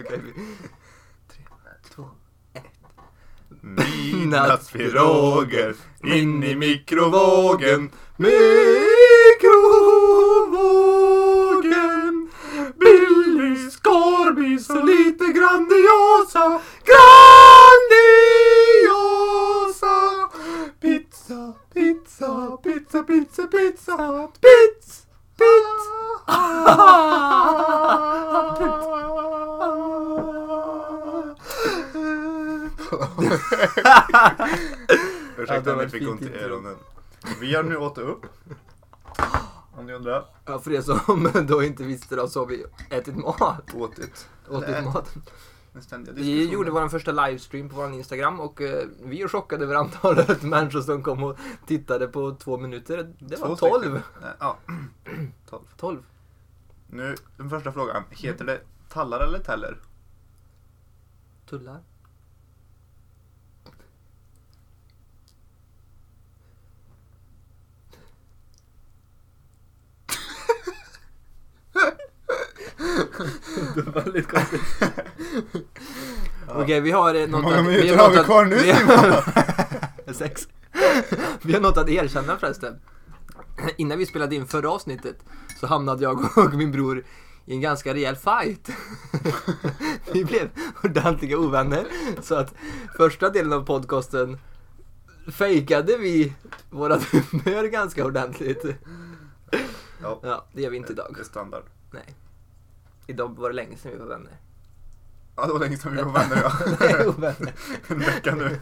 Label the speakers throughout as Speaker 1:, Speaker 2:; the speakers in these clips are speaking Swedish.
Speaker 1: Okej, vi- Tre, två,
Speaker 2: Midnattspiroger in i mikrovågen.
Speaker 1: Mikrovågen Billy Scorbys och lite Grandiosa Grandiosa Pizza, pizza, pizza, pizza, pizza Pizz, pizz Ja, det
Speaker 2: Ursäkta om jag
Speaker 1: var ett
Speaker 2: fick
Speaker 1: fint
Speaker 2: ont i
Speaker 1: intro.
Speaker 2: öronen. Vi har nu åter upp. Om ni undrar.
Speaker 1: Ja, för er som då inte visste då så har vi ätit mat.
Speaker 2: Åtit.
Speaker 1: Åtit
Speaker 2: Nej,
Speaker 1: mat.
Speaker 2: den ständiga
Speaker 1: Vi
Speaker 2: diskussionen.
Speaker 1: gjorde vår första livestream på vår Instagram och eh, vi är chockade över antalet människor som kom och tittade på två minuter. Det
Speaker 2: Två
Speaker 1: var
Speaker 2: stycken.
Speaker 1: 12.
Speaker 2: Nej, Ja. Tolv.
Speaker 1: 12.
Speaker 2: Nu, den första frågan. Heter det tallar eller täller?
Speaker 1: Tullar.
Speaker 3: Det var väldigt konstigt.
Speaker 1: Okej, vi har eh, något
Speaker 2: många
Speaker 1: att...
Speaker 2: minuter
Speaker 1: något
Speaker 2: har vi
Speaker 1: att-
Speaker 2: kvar nu,
Speaker 1: vi har- Sex. Vi har något att erkänna förresten. Innan vi spelade in förra avsnittet så hamnade jag och min bror i en ganska rejäl fight. vi blev ordentliga ovänner. Så att första delen av podcasten fejkade vi vårat humör ganska ordentligt.
Speaker 2: Ja.
Speaker 1: Ja, det gör vi inte idag.
Speaker 2: Det är standard.
Speaker 1: Nej. Idag var det länge sedan vi var vänner.
Speaker 2: Ja, det var länge sedan vi var vänner ja.
Speaker 1: Nej, ovänner.
Speaker 2: en vecka nu.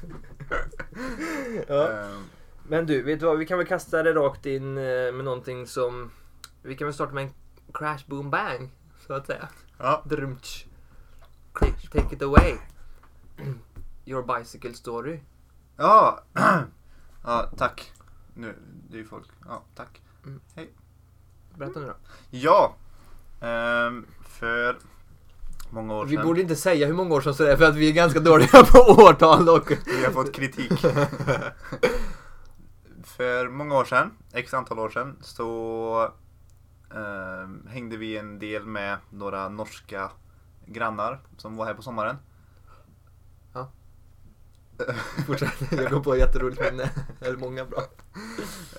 Speaker 1: Ja.
Speaker 2: Ehm,
Speaker 1: Men du, vet du vad? Vi kan väl kasta det rakt in eh, med någonting som... Vi kan väl starta med en crash boom bang, så att säga.
Speaker 2: ja.
Speaker 1: Drumtsch. Take, take it away. Your bicycle story.
Speaker 2: Ja. ja, tack. Nu, det är ju folk. Ja, tack.
Speaker 1: Berätta nu då.
Speaker 2: Ja. Ehm, för många år
Speaker 1: Vi
Speaker 2: sedan.
Speaker 1: borde inte säga hur många år som sådär för att vi är ganska dåliga på årtal och...
Speaker 2: Vi har fått kritik. För många år sedan, x antal år sedan, så ehm, hängde vi en del med några norska grannar som var här på sommaren.
Speaker 1: Ja.
Speaker 2: Eh,
Speaker 1: Fortsätt. Jag kom på jätteroligt minne. Eller många bra.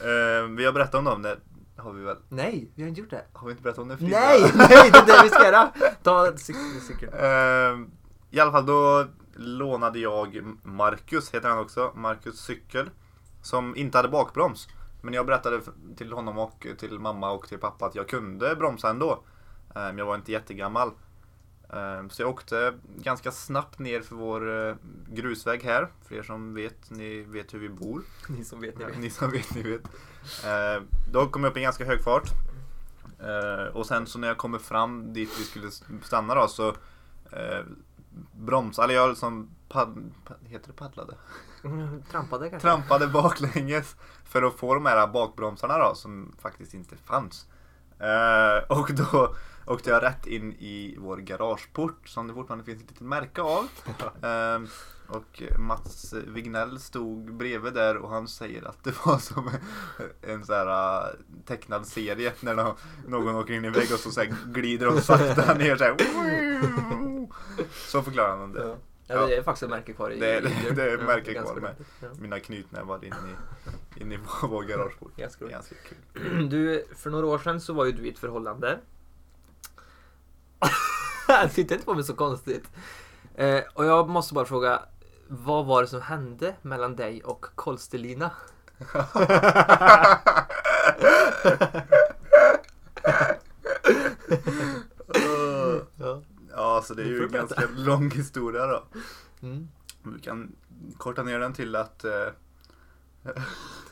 Speaker 2: ehm, vi har berättat om dem, det har vi väl?
Speaker 1: Nej, vi har inte gjort det.
Speaker 2: Har vi inte berättat om det Frida?
Speaker 1: Nej, nej, det är det vi ska göra. Ta cykeln.
Speaker 2: Ehm, I alla fall då lånade jag Marcus, heter han också, Marcus cykel. Som inte hade bakbroms. Men jag berättade f- till honom och till mamma och till pappa att jag kunde bromsa ändå. Ehm, Jag var inte jättegammal. Ehm, Så jag åkte ganska snabbt ner för vår eh, grusväg här. För er som vet, ni vet hur vi bor.
Speaker 1: Ni som vet, ni vet.
Speaker 2: Ni som vet, ni vet. Eh, Då kom jag upp i ganska hög fart. Eh, Och sen så när jag kommer fram dit vi skulle stanna då så eh, bromsade, eller jag liksom pad, pad, heter det paddlade?
Speaker 1: Mm, Trampade kanske?
Speaker 2: Trampade baklänges för att få de här bakbromsarna då som faktiskt inte fanns. Eh, Och då åkte jag rätt in i vår garageport som det fortfarande finns ett litet märke av. Ehm, och Mats Wignell stod bredvid där och han säger att det var som en så här äh, tecknad serie när nå- någon åker in i en vägg och så, så här glider de sakta ner så här. Så förklarar han det.
Speaker 1: Ja. Ja, det är faktiskt ett märke kvar i
Speaker 2: Det är- det- det är ett
Speaker 1: Ja,
Speaker 2: märke
Speaker 1: ganska
Speaker 2: kvar med.
Speaker 1: roligt. Ja.
Speaker 2: Mina knytnävar in i, in i vår, vår garageport.
Speaker 1: Ganska
Speaker 2: Det är
Speaker 1: roligt.
Speaker 2: ganska kul.
Speaker 1: Du, för några år sedan så var ju du i ett förhållande. Titta inte på mig så konstigt. Eh, och jag måste bara fråga, vad var det som hände mellan dig och Kolstelina? Ja.
Speaker 2: Ja, så det är
Speaker 1: Nu
Speaker 2: ju
Speaker 1: får
Speaker 2: en
Speaker 1: du berätta.
Speaker 2: ganska lång historia då.
Speaker 1: Mm.
Speaker 2: Vi kan korta ner den till att eh,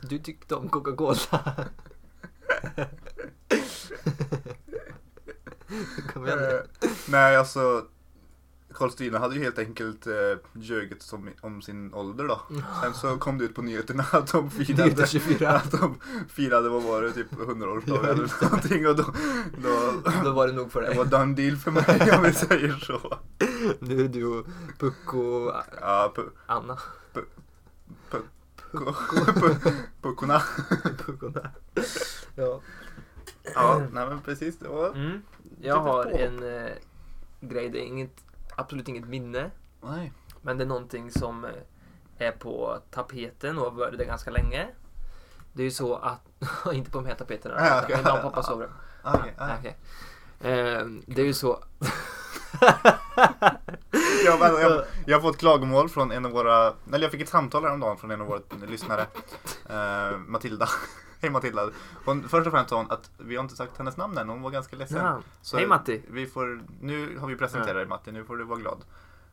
Speaker 1: Du tyckte om Coca-Cola. Kom igen nu.
Speaker 2: eh, Nej, alltså Karlstina hade ju helt enkelt eh, ljugit som, om sin ålder då. Sen så kom det ut på nyheterna att de
Speaker 1: Nyheter
Speaker 2: firade,
Speaker 1: 24.
Speaker 2: att de firade vad var det, typ 100-årsdag
Speaker 1: Ja,
Speaker 2: eller
Speaker 1: just
Speaker 2: någonting och då, då
Speaker 1: Då var det nog för
Speaker 2: det
Speaker 1: dig.
Speaker 2: var done deal för mig om vi säger så.
Speaker 1: Nu är du och Puck och
Speaker 2: Ja, pu-
Speaker 1: Anna.
Speaker 2: ko- pu- puckorna.
Speaker 1: Puckorna. Ja.
Speaker 2: Ja, nej men precis. Det var...
Speaker 1: Mm. Jag har
Speaker 2: påhopp.
Speaker 1: en eh, grej, det är inget, absolut inget minne.
Speaker 2: Nej.
Speaker 1: Men det är någonting som eh, är på tapeten och har varit det ganska länge. Det är ju så att, inte på de här tapeterna,
Speaker 2: Ah, okej.
Speaker 1: men mamma och pappa sover.
Speaker 2: Ah, okej, ah.
Speaker 1: Ah, okej. Eh, det är ju så...
Speaker 2: Jag, vänta, jag, jag har fått klagomål från en av våra, eller jag fick ett samtal häromdagen från en av våra lyssnare. Eh, Matilda. Hej Matilda. Hon, först och främst sa hon att vi har inte sagt hennes namn än, hon var ganska ledsen.
Speaker 1: Ja.
Speaker 2: Så
Speaker 1: Hej, Matti.
Speaker 2: Vi får, nu har vi presenterat dig Matti, nu får du vara glad.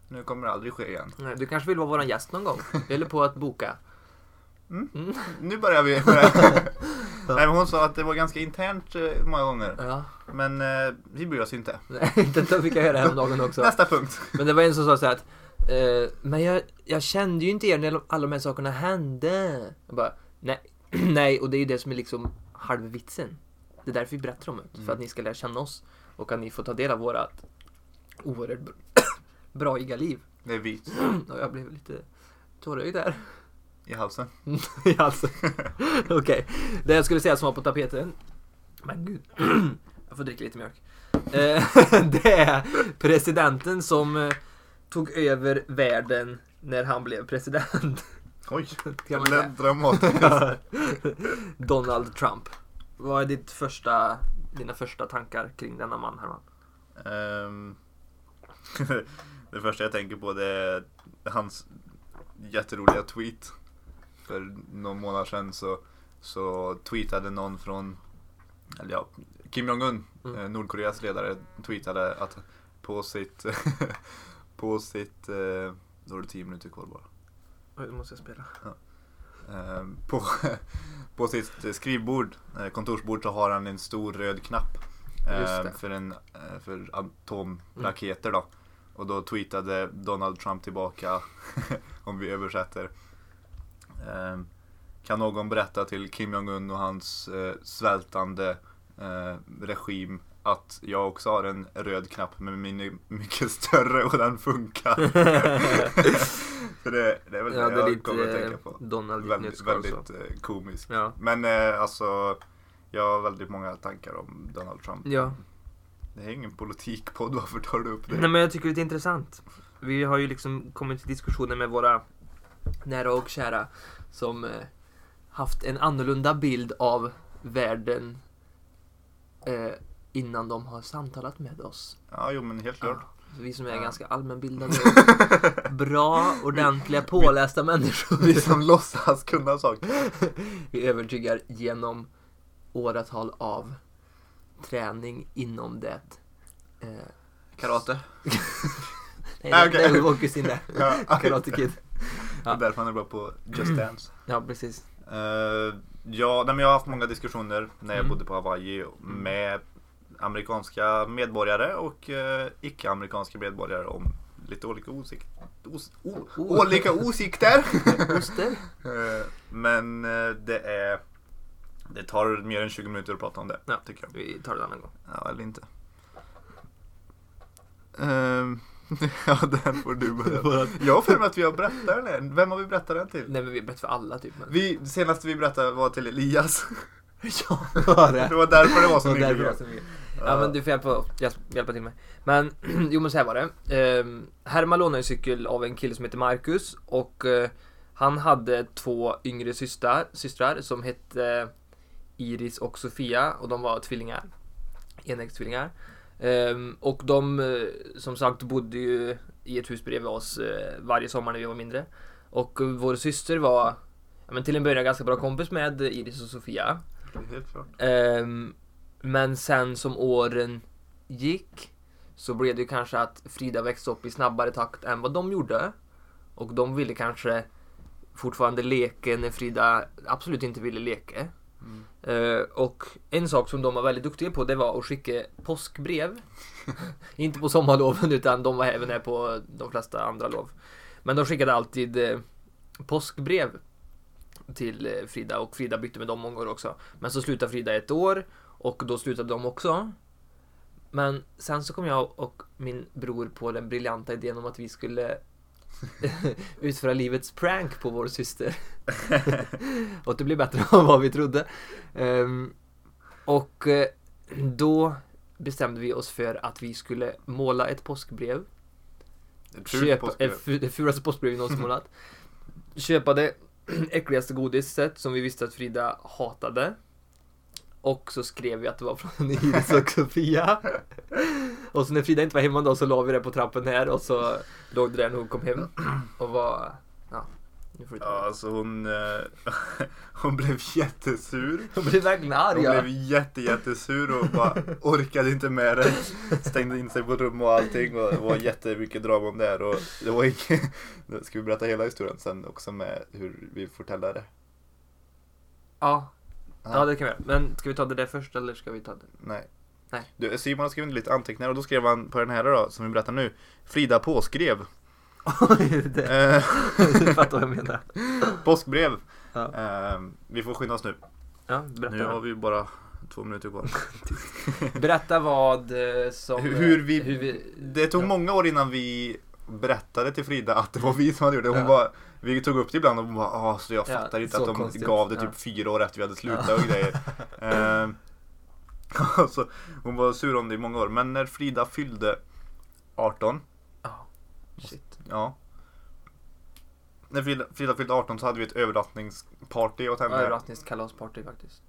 Speaker 2: Nu kommer det aldrig ske igen.
Speaker 1: Nej, Du kanske vill vara våran gäst någon gång? Vi håller på att boka.
Speaker 2: Nu börjar vi. Nej, men hon sa att det var ganska internt eh, många gånger.
Speaker 1: Ja.
Speaker 2: Men eh, vi bryr oss inte.
Speaker 1: Nej, det fick jag göra häromdagen också.
Speaker 2: Nästa punkt.
Speaker 1: Men det var en som sa så här att eh, Men jag, jag kände ju inte er när alla de här sakerna hände. Jag bara, nej, nej, och det är ju det som är liksom halvvitsen. Det är därför vi berättar om det. För att ni ska lära känna oss och att ni får ta del av vårat oerhört br- braiga liv.
Speaker 2: Det är vit
Speaker 1: Och jag blev lite tårögd där.
Speaker 2: i halsen.
Speaker 1: i halsen. Okej, det jag skulle säga som var på tapeten. Men gud, jag får dricka lite mjölk. Eh, det är presidenten som eh, tog över världen när han blev president.
Speaker 2: Oj,
Speaker 1: Kan man säga.
Speaker 2: dramatiskt.
Speaker 1: Donald Trump. Vad är ditt första, dina första tankar kring denna man Herman?
Speaker 2: Ehm, det första jag tänker på det är hans jätteroliga tweet. För någon månad sedan så, så tweetade någon från eller ja, Kim Jong-Un,
Speaker 1: Mm.
Speaker 2: eh, Nordkoreas ledare, tweetade att på sitt på sitt eh, då är det tio minuter kvar bara.
Speaker 1: Oj, nu måste jag spela.
Speaker 2: Eh, på, på sitt skrivbord, eh, kontorsbord, så har han en stor röd knapp. eh,
Speaker 1: Just det. Mm.
Speaker 2: För, en, eh, för atomraketer då. Och då tweetade Donald Trump tillbaka, om vi översätter. eh, Kan någon berätta till Kim Jong-Un och hans eh, svältande eh, regim att jag också har en röd knapp men min är mycket större och den funkar. så det, det är väl
Speaker 1: Ja,
Speaker 2: det
Speaker 1: det är
Speaker 2: jag kommer att
Speaker 1: lite
Speaker 2: tänka
Speaker 1: eh,
Speaker 2: på.
Speaker 1: Donald i ett
Speaker 2: Väldigt,
Speaker 1: nötskal så.
Speaker 2: väldigt eh, komiskt.
Speaker 1: Ja.
Speaker 2: Men eh, alltså, jag har väldigt många tankar om Donald Trump.
Speaker 1: ja.
Speaker 2: Det är ingen politikpodd, varför tar du upp det?
Speaker 1: Nej men jag tycker det är intressant. Vi har ju liksom kommit till diskussioner med våra nära och kära som eh, haft en annorlunda bild av världen eh, innan de har samtalat med oss.
Speaker 2: Ja, jo men helt klart.
Speaker 1: Så vi som är
Speaker 2: Ja.
Speaker 1: ganska allmänbildade och bra, ordentliga, pålästa människor.
Speaker 2: Vi som låtsas kunna saker.
Speaker 1: Vi övertygar genom åratal av träning inom det. Eh,
Speaker 2: Karate.
Speaker 1: nej, det-
Speaker 2: Ah, Okej.
Speaker 1: det är Walkers in där.
Speaker 2: Ja,
Speaker 1: Karate Mm. Kid.
Speaker 2: Det är därför han är bra på Just Dance.
Speaker 1: Ja, precis.
Speaker 2: Eh, ja, nej, men jag har haft många diskussioner när jag
Speaker 1: Mm.
Speaker 2: bodde på Hawaii med amerikanska medborgare och eh, icke-amerikanska medborgare om lite olika åsikter. Os- o-
Speaker 1: O-
Speaker 2: olika åsikter!
Speaker 1: Oster?
Speaker 2: Eh, men eh, det är... Det tar mer än 20 minuter att prata om det,
Speaker 1: Ja.
Speaker 2: tycker jag.
Speaker 1: Vi tar det en annan gång.
Speaker 2: Ja, eller inte. Ehm, ja, den får du börja. Jag har för mig att vi har berättat den här. Vem har vi berättat den till?
Speaker 1: Nej men vi har bett för alla typ. Men...
Speaker 2: Vi, senast vi berättade var till Elias.
Speaker 1: ja, det var
Speaker 2: Det var därför det var
Speaker 1: Det
Speaker 2: så
Speaker 1: var därför det var
Speaker 2: mycket.
Speaker 1: så mycket. Ja men du får hjälpa, hjälp- hjälpa till mig. Men jo men så här var det. Ehm, Herman lånade en cykel av en kille som heter Marcus och eh, han hade två yngre systrar, systrar som hette eh, Iris och Sofia och de var tvillingar. Enäggstvillingar. Ehm, och de eh, som sagt bodde ju i ett hus bredvid oss eh, varje sommar när vi var mindre. Och eh, vår syster var ja, men till en början ganska bra kompis med eh, Iris och Sofia.
Speaker 2: Helt klart.
Speaker 1: Ehm, men sen som åren gick så blev det ju kanske att Frida växte upp i snabbare takt än vad de gjorde. Och de ville kanske fortfarande leka när Frida absolut inte ville leka. Eh, och en sak som de var väldigt duktiga på det var att skicka påskbrev. inte på sommarloven utan de var även här på de flesta andra lov. Men de skickade alltid eh, påskbrev till eh, Frida och Frida bytte med dem många år också. Men så slutade Frida ett år och då slutade de också. Men sen så kom jag och min bror på den briljanta idén om att vi skulle utföra livets prank på vår syster. och det blev bättre än vad vi trodde. Ehm, och eh, Då bestämde vi oss för att vi skulle måla ett påskbrev.
Speaker 2: Ett fult
Speaker 1: Köpa,
Speaker 2: påskbrev.
Speaker 1: eh, fu- det fulaste påskbrev vi någonsin målat. Köpa det äckligaste godiset som vi visste att Frida hatade. Och så skrev vi att det var från Iris och Sofia. Och så när Frida inte var hemma då så la vi det på trappen här och så låg det där när hon kom hem. Och var... Ja, nu får du
Speaker 2: Ja,
Speaker 1: ta
Speaker 2: alltså hon, eh, hon blev jättesur.
Speaker 1: Hon blev verkligen
Speaker 2: Hon
Speaker 1: arg. ja.
Speaker 2: blev jätte, jättesur och bara orkade inte med det. Stängde in sig på rum och allting och det var jättemycket drama om det här. Och det var inget... Nu Ska vi berätta hela historien sen också med hur vi förtäller det?
Speaker 1: Ja. ja, det kan vi göra. Men ska vi ta det där först eller ska vi ta det?
Speaker 2: Nej.
Speaker 1: Nej.
Speaker 2: Du, Simon har skrivit lite anteckningar och då skrev han på den här då, som vi berättar nu. Frida påskrev.
Speaker 1: Oj, det,
Speaker 2: Eh,
Speaker 1: du fattar vad jag menar.
Speaker 2: påskbrev.
Speaker 1: Ja.
Speaker 2: Eh, vi får skynda oss nu.
Speaker 1: Ja,
Speaker 2: Nu har
Speaker 1: berätta.
Speaker 2: vi bara två minuter kvar.
Speaker 1: Berätta vad eh, som...
Speaker 2: Hur- hur vi-
Speaker 1: Hur vi
Speaker 2: Det tog
Speaker 1: Ja.
Speaker 2: många år innan vi berättade till Frida att det var vi som hade gjort det. Hon
Speaker 1: Ja.
Speaker 2: bara, vi tog upp det ibland och hon bara, ah, så jag
Speaker 1: Ja,
Speaker 2: fattar inte
Speaker 1: så
Speaker 2: att de
Speaker 1: konstigt.
Speaker 2: gav det typ
Speaker 1: Ja.
Speaker 2: fyra år efter vi hade slutat och grejer. Ehm, och så, hon var sur om det i många år. Men när Frida fyllde 18,
Speaker 1: Ja. Shit.
Speaker 2: ja. När Frida, Frida fyllde 18 så hade vi ett övernattningsparty åt henne.
Speaker 1: Överrasknings kalasparty faktiskt.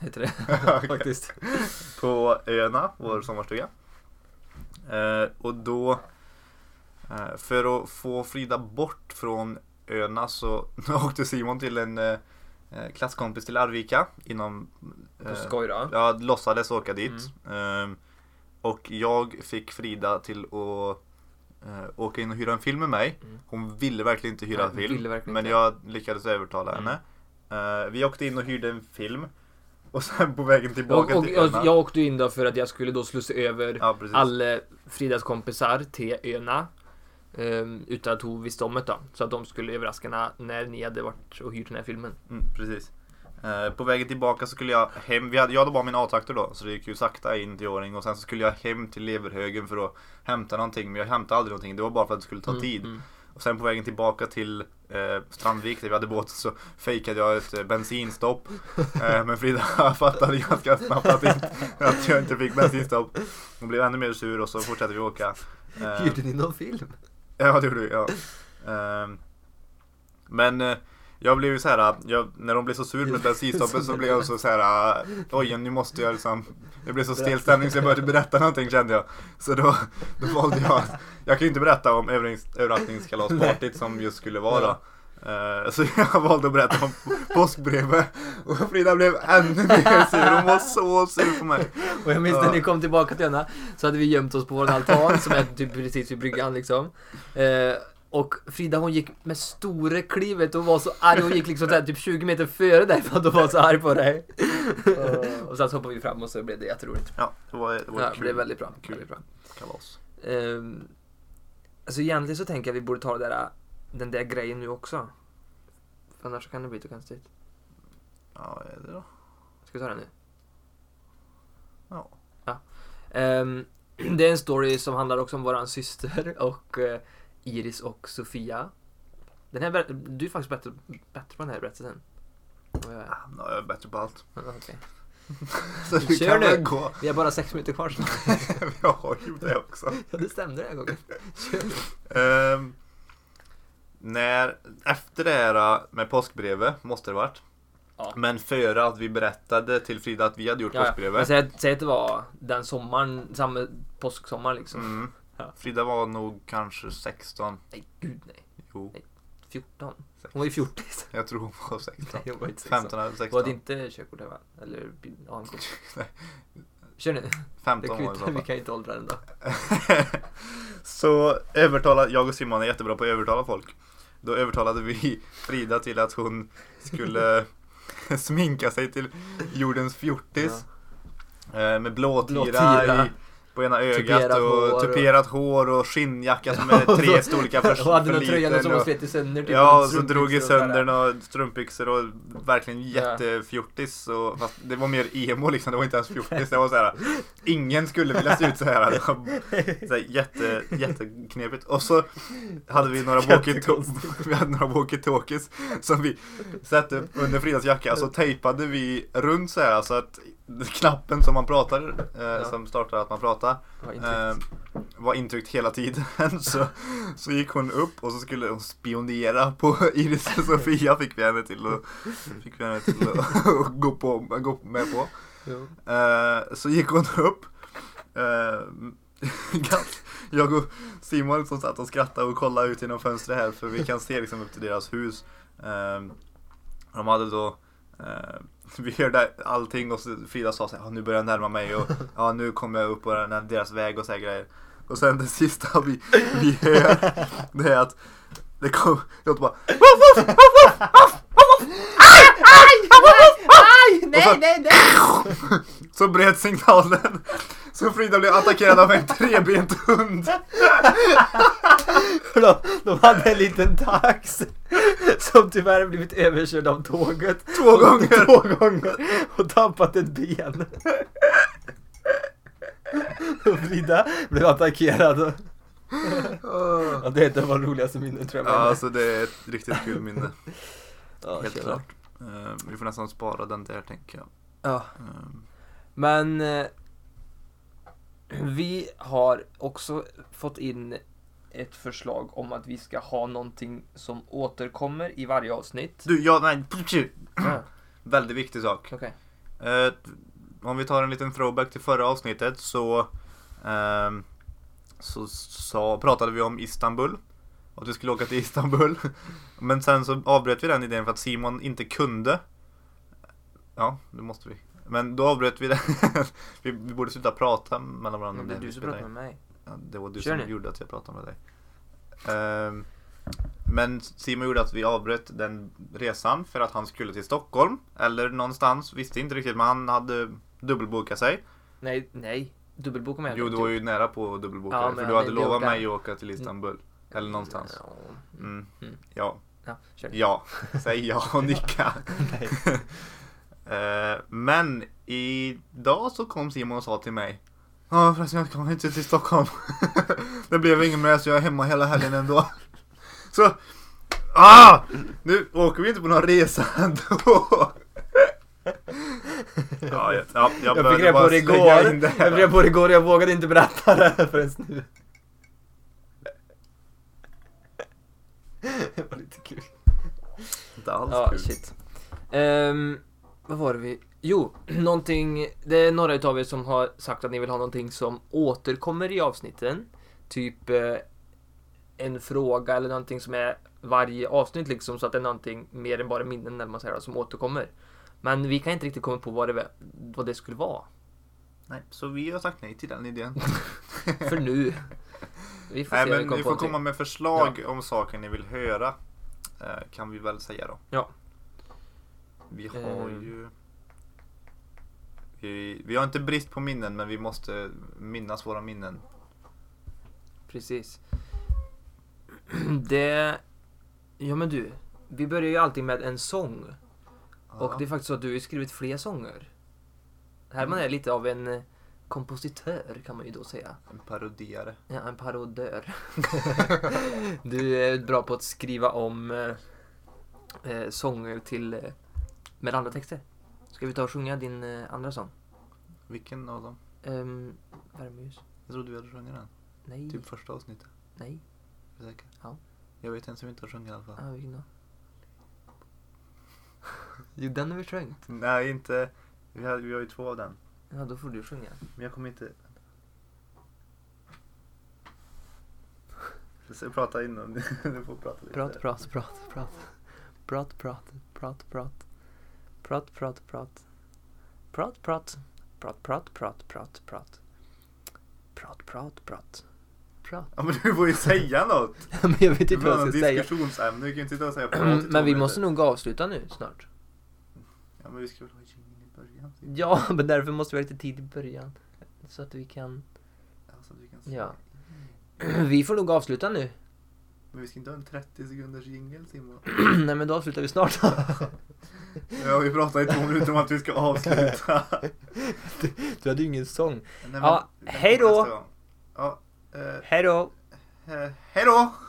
Speaker 1: Heter det.
Speaker 2: Okej.
Speaker 1: faktiskt.
Speaker 2: på öarna, vår
Speaker 1: Mm.
Speaker 2: sommarstuga. Eh, och då, eh, för att få Frida bort från öarna så åkte Simon till en eh, eh, klasskompis till Arvika inom... Eh,
Speaker 1: På Mm. skoj då.
Speaker 2: Jag låtsades åka dit. Eh, och jag fick Frida till att eh, åka in och hyra en film med mig.
Speaker 1: Mm.
Speaker 2: Hon ville verkligen inte hyra
Speaker 1: Nej,
Speaker 2: en
Speaker 1: hon
Speaker 2: film.
Speaker 1: ville verkligen
Speaker 2: men
Speaker 1: inte.
Speaker 2: jag lyckades övertala
Speaker 1: Mm.
Speaker 2: henne. Eh, vi åkte in och hyrde en film. Och sen på vägen
Speaker 1: Och,
Speaker 2: tillbaka
Speaker 1: och,
Speaker 2: till öarna-
Speaker 1: jag, jag åkte in då för att jag skulle då slussa över
Speaker 2: Ja, precis.
Speaker 1: alla Fridas kompisar till öarna. ehm, utan att hon visste om det då. Så att de skulle överraska henne när ni hade varit och hyrt den här filmen.
Speaker 2: Mm, precis. Eh, på vägen tillbaka så skulle jag hem. Vi hade, jag hade bara min A-traktor då, så det gick ju sakta in till Åring. Och sen så skulle jag hem till Leverhögen för att hämta någonting. Men jag hämtade aldrig någonting. Det var bara för att det skulle ta
Speaker 1: Mm,
Speaker 2: tid.
Speaker 1: mm.
Speaker 2: Och sen på vägen tillbaka till eh, Strandvik där vi hade båt så fejkade jag ett eh, bensinstopp. Eh, men Frida fattade ganska snabbt att, inte, att jag inte fick bensinstopp. Hon blev ännu mer sur och så fortsatte vi åka. Eh,
Speaker 1: ni någon film?
Speaker 2: Ja, det gjorde vi. Ja. Ehm, men eh, jag blev ju så här, jag, när de blev så sur med bensinstoppet så blev jag så, så här, eh, oj nu måste jag liksom, det blev så stel stämning så jag började berätta någonting kände jag. Så då, då valde jag att, jag kan ju inte berätta om överrasknings- överraskningskalaspartyt som just skulle vara. då. Eh, Så jag valde att berätta om påskbrevet och Frida blev ännu mer sur, hon var så sur på mig.
Speaker 1: Och jag minns
Speaker 2: Ja.
Speaker 1: när ni kom tillbaka till henne så hade vi gömt oss på vår altan som är typ precis vid bryggan liksom. Eh, och Frida hon gick med stora klivet och var så arg, hon gick liksom så här, typ 20 meter före dig för att hon var så arg på dig. och sen så hoppade vi fram och så blev det jätteroligt.
Speaker 2: Ja, det var, det var
Speaker 1: Ja,
Speaker 2: ett
Speaker 1: det
Speaker 2: kul
Speaker 1: blev väldigt bra.
Speaker 2: kul.
Speaker 1: Väldigt bra.
Speaker 2: kalas.
Speaker 1: Ehm, alltså egentligen så tänker jag att vi borde ta det där, den där grejen nu också. För annars kan det bli lite konstigt.
Speaker 2: Ja, vad är det då?
Speaker 1: Ska vi ta den nu?
Speaker 2: Ja.
Speaker 1: Ehm, det är en story som handlar också om våran syster och eh, Iris och Sofia. Den här, ber- du är faktiskt bättre, bättre på den här berättelsen. än vad jag är.
Speaker 2: Ja, jag är bättre på allt.
Speaker 1: Men okej.
Speaker 2: Så det
Speaker 1: Kör
Speaker 2: kan
Speaker 1: nu.
Speaker 2: väl gå.
Speaker 1: Vi har bara sex minuter kvar snart.
Speaker 2: Jag har ju det också.
Speaker 1: Ja, det stämde den här gången.
Speaker 2: Ehm, när, efter det här äh, med påskbrevet, måste det varit.
Speaker 1: Ja.
Speaker 2: Men före att vi berättade till Frida att vi hade gjort
Speaker 1: Ja, ja. Men
Speaker 2: påskbrevet.
Speaker 1: säg, att- säg att det var den sommaren, samma påsksommar liksom.
Speaker 2: Mm.
Speaker 1: Ja.
Speaker 2: Frida var nog kanske 16.
Speaker 1: Nej, gud nej.
Speaker 2: Jo, 14.
Speaker 1: 14. Hon var ju fjortis.
Speaker 2: jag tror hon var 16.
Speaker 1: Nej, hon var inte 16.
Speaker 2: 15 eller
Speaker 1: Var
Speaker 2: 16.
Speaker 1: det inte körkort här va? Eller bil- AMK?
Speaker 2: Nej.
Speaker 1: Kör nu. Det
Speaker 2: 15
Speaker 1: kan
Speaker 2: var
Speaker 1: ju
Speaker 2: hon i så
Speaker 1: inte, vi
Speaker 2: fall.
Speaker 1: kan ju inte åldra den då.
Speaker 2: Så övertala, jag och Simon är jättebra på att övertala folk. Då övertalade vi Frida till att hon skulle sminka sig till jordens fjortis. Eh, Med
Speaker 1: Blå
Speaker 2: blåtira
Speaker 1: tira.
Speaker 2: i, på ena ögat
Speaker 1: Tuperat hår
Speaker 2: och
Speaker 1: och-
Speaker 2: tuperat hår och skinnjacka som är tre storlekar för,
Speaker 1: Hon hade
Speaker 2: för
Speaker 1: den där tröjan
Speaker 2: liten.
Speaker 1: som hon
Speaker 2: Och,
Speaker 1: slet i sönder. Typ,
Speaker 2: ja, och så
Speaker 1: strumpbyxor
Speaker 2: drog i
Speaker 1: och sådär.
Speaker 2: sönder några strumpbyxor och verkligen
Speaker 1: Ja.
Speaker 2: jättefjortis. Och, fast det var mer emo liksom, det var inte ens fjortis. Det var så här, ingen skulle vilja se ut så här. Det var så här, jätte, jätteknepigt. Och så hade vi några walkie-talkies-
Speaker 1: Jättekonstigt.
Speaker 2: vi hade några walkie-talkies som vi satte upp under Fridas jacka. Så tejpade vi runt så här så att knappen som man pratar, eh,
Speaker 4: Ja.
Speaker 2: som startar att man pratar,
Speaker 4: Vad intryckt.
Speaker 2: eh, var intryckt hela tiden. Så, så gick hon upp och så skulle hon spionera på Iris och Sofia fick vi henne till att, fick vi henne till att, att gå, på, gå med på.
Speaker 4: Ja.
Speaker 2: Eh, så gick hon upp. Eh, gans- jag och Simon som satt och skrattade och kollade ut genom fönstret här för vi kan se liksom upp till deras hus. Eh, de hade då eh, vi hörde allting och så Frida sa så här, "Ah, nu börjar jag närma mig och ja, nu kommer jag upp på den här, deras väg och så här grejer. Och sen det sista vi, vi hör, det är att det kom, låter bara
Speaker 4: Aj!
Speaker 2: Och så-
Speaker 4: Nej, nej, nej!
Speaker 2: Så bröt signalen. Så Frida blev attackerad av en trebent hund.
Speaker 1: För de, de hade en liten tax som tyvärr blivit överkörd av tåget.
Speaker 2: Två gånger.
Speaker 1: Två gånger och tappat ett ben. Och Frida blev attackerad. Ja, det är ett av de roligaste minnen tror
Speaker 2: Ja,
Speaker 1: jag.
Speaker 2: alltså det är ett riktigt kul minne.
Speaker 1: Ja,
Speaker 2: Helt
Speaker 1: tjena.
Speaker 2: klart. Eh, vi får nästan spara den där tänker jag.
Speaker 1: Ja.
Speaker 2: Eh,
Speaker 1: Men eh, vi har också fått in ett förslag om att vi ska ha någonting som återkommer i varje avsnitt.
Speaker 2: du, ja, nej.
Speaker 1: Ja,
Speaker 2: Väldigt viktig sak.
Speaker 1: Ah, Okej.
Speaker 2: Eh, om vi tar en liten throwback till förra avsnittet så, ehm, så sa, pratade vi om Istanbul. Och att vi skulle åka till Istanbul. Men sen så avbröt vi den idén för att Simon inte kunde. Ja, det måste vi. Men då avbröt vi den. vi, vi borde sluta prata mellan varandra.
Speaker 1: Men
Speaker 2: om
Speaker 1: Det är
Speaker 2: vi
Speaker 1: du som
Speaker 2: spelar
Speaker 1: pratar
Speaker 2: in.
Speaker 1: med mig.
Speaker 2: Ja, det var du
Speaker 1: Kör
Speaker 2: som
Speaker 1: nu.
Speaker 2: gjorde att jag pratade med dig. Ehm, men Simon gjorde att vi avbröt den resan för att han skulle till Stockholm. Eller någonstans, visste inte riktigt men han hade dubbelbokat sig.
Speaker 1: Nej, nej. Dubbelboka mig.
Speaker 2: Jo, du var ju nära på att dubbelboka
Speaker 1: Ja,
Speaker 2: dig,
Speaker 1: men
Speaker 2: för
Speaker 1: han
Speaker 2: du hade
Speaker 1: ville
Speaker 2: lovat
Speaker 1: åka.
Speaker 2: mig att åka till Istanbul. Eller någonstans.
Speaker 1: Ja,
Speaker 2: Mm.
Speaker 1: Mm.
Speaker 2: Ja,
Speaker 1: ja, kör.
Speaker 2: ja. Säg ja och nicka. Eh, men idag så kom Simon och sa till mig Ja förresten jag kommer inte till Stockholm. det blev ingen med så jag är hemma hela helgen ändå. så, ah! Nu åker vi inte på någon resa ändå. ja, jag, ja, jag,
Speaker 1: Jag
Speaker 2: behövde
Speaker 1: fick reda på
Speaker 2: bara
Speaker 1: det
Speaker 2: slänga
Speaker 1: igår.
Speaker 2: in det
Speaker 1: Jag fick
Speaker 2: här.
Speaker 1: reda på det igår och jag vågade inte berätta det här förrän nu. Det var lite kul.
Speaker 2: Inte alls
Speaker 1: Ja,
Speaker 2: kul.
Speaker 1: shit. Ehm, vad var det vi... Jo, någonting... Det är några utav er som har sagt att ni vill ha någonting som återkommer i avsnitten. Typ eh, en fråga eller någonting som är varje avsnitt liksom. Så att det är någonting mer än bara minnen eller vad man säger, som återkommer. Men vi kan inte riktigt komma på vad det, vad det skulle vara.
Speaker 2: Nej, så vi har sagt nej till den idén.
Speaker 1: För nu. Vi får
Speaker 2: nej
Speaker 1: se
Speaker 2: men
Speaker 1: om kommer
Speaker 2: ni får
Speaker 1: på någonting.
Speaker 2: komma med förslag om saker ni vill höra. Eh, kan vi väl säga då.
Speaker 1: Ja.
Speaker 2: Vi har
Speaker 1: Ehm.
Speaker 2: ju... Vi, vi har inte brist på minnen men vi måste minnas våra minnen.
Speaker 1: Precis. Det... Ja men du. Vi börjar ju alltid med en sång. Och
Speaker 2: Ja.
Speaker 1: det är faktiskt så att du har ju skrivit fler sånger. Herman är lite av en eh, kompositör kan man ju då säga.
Speaker 2: En parodiare.
Speaker 1: Ja, en parodör. du är bra på att skriva om eh, eh, sånger till eh, med andra texter. Ska vi ta och sjunga din eh, andra sång?
Speaker 2: Vilken av dem?
Speaker 1: Um, Värmeljus?
Speaker 2: Jag trodde vi hade sjungit den.
Speaker 1: Nej.
Speaker 2: Typ första avsnittet.
Speaker 1: Nej.
Speaker 2: Är du säker?
Speaker 1: Ja.
Speaker 2: Jag vet en som inte har sjungit i alla fall.
Speaker 1: Ah, vilken då? Jo, den har vi sjungit.
Speaker 2: Nej, inte... Vi har, vi har ju två av den.
Speaker 1: Ja, då får du sjunga.
Speaker 2: Men jag kommer inte... Jag ska Prata innan. Du får prata lite.
Speaker 1: Prat, prat, prat, prat. Prat, prat, prat, prat. Prat, prat, prat. Prat, prat. Prat, prat, prat, prat, prat. Prat, prat, prat. Prat.
Speaker 2: Ja, men du får ju säga något.
Speaker 1: Men jag vet
Speaker 2: Du
Speaker 1: inte
Speaker 2: får
Speaker 1: vad
Speaker 2: ha något
Speaker 1: jag ska säga.
Speaker 2: diskussionsämne. Du kan ju inte sitta och säga prat i två
Speaker 1: Men vi
Speaker 2: minuter.
Speaker 1: måste nog avsluta nu snart.
Speaker 2: Ja, men vi ska väl ha jingeln i början. typ.
Speaker 1: Ja, men därför måste vi ha lite tid i början. Så att vi kan...
Speaker 2: Alltså, du kan säga.
Speaker 1: Ja. Vi får nog avsluta nu.
Speaker 2: Men vi ska inte ha en 30 sekunders jingel Simon.
Speaker 1: Nej, men då avslutar vi snart.
Speaker 2: Ja, vi pratar i två minuter om att vi ska avsluta.
Speaker 1: Du hade ju ingen sång.
Speaker 2: Nej, men-
Speaker 1: Ja, hej då.
Speaker 2: nästa gång. Ja, eh,
Speaker 1: Hej då!
Speaker 2: eh, hej då!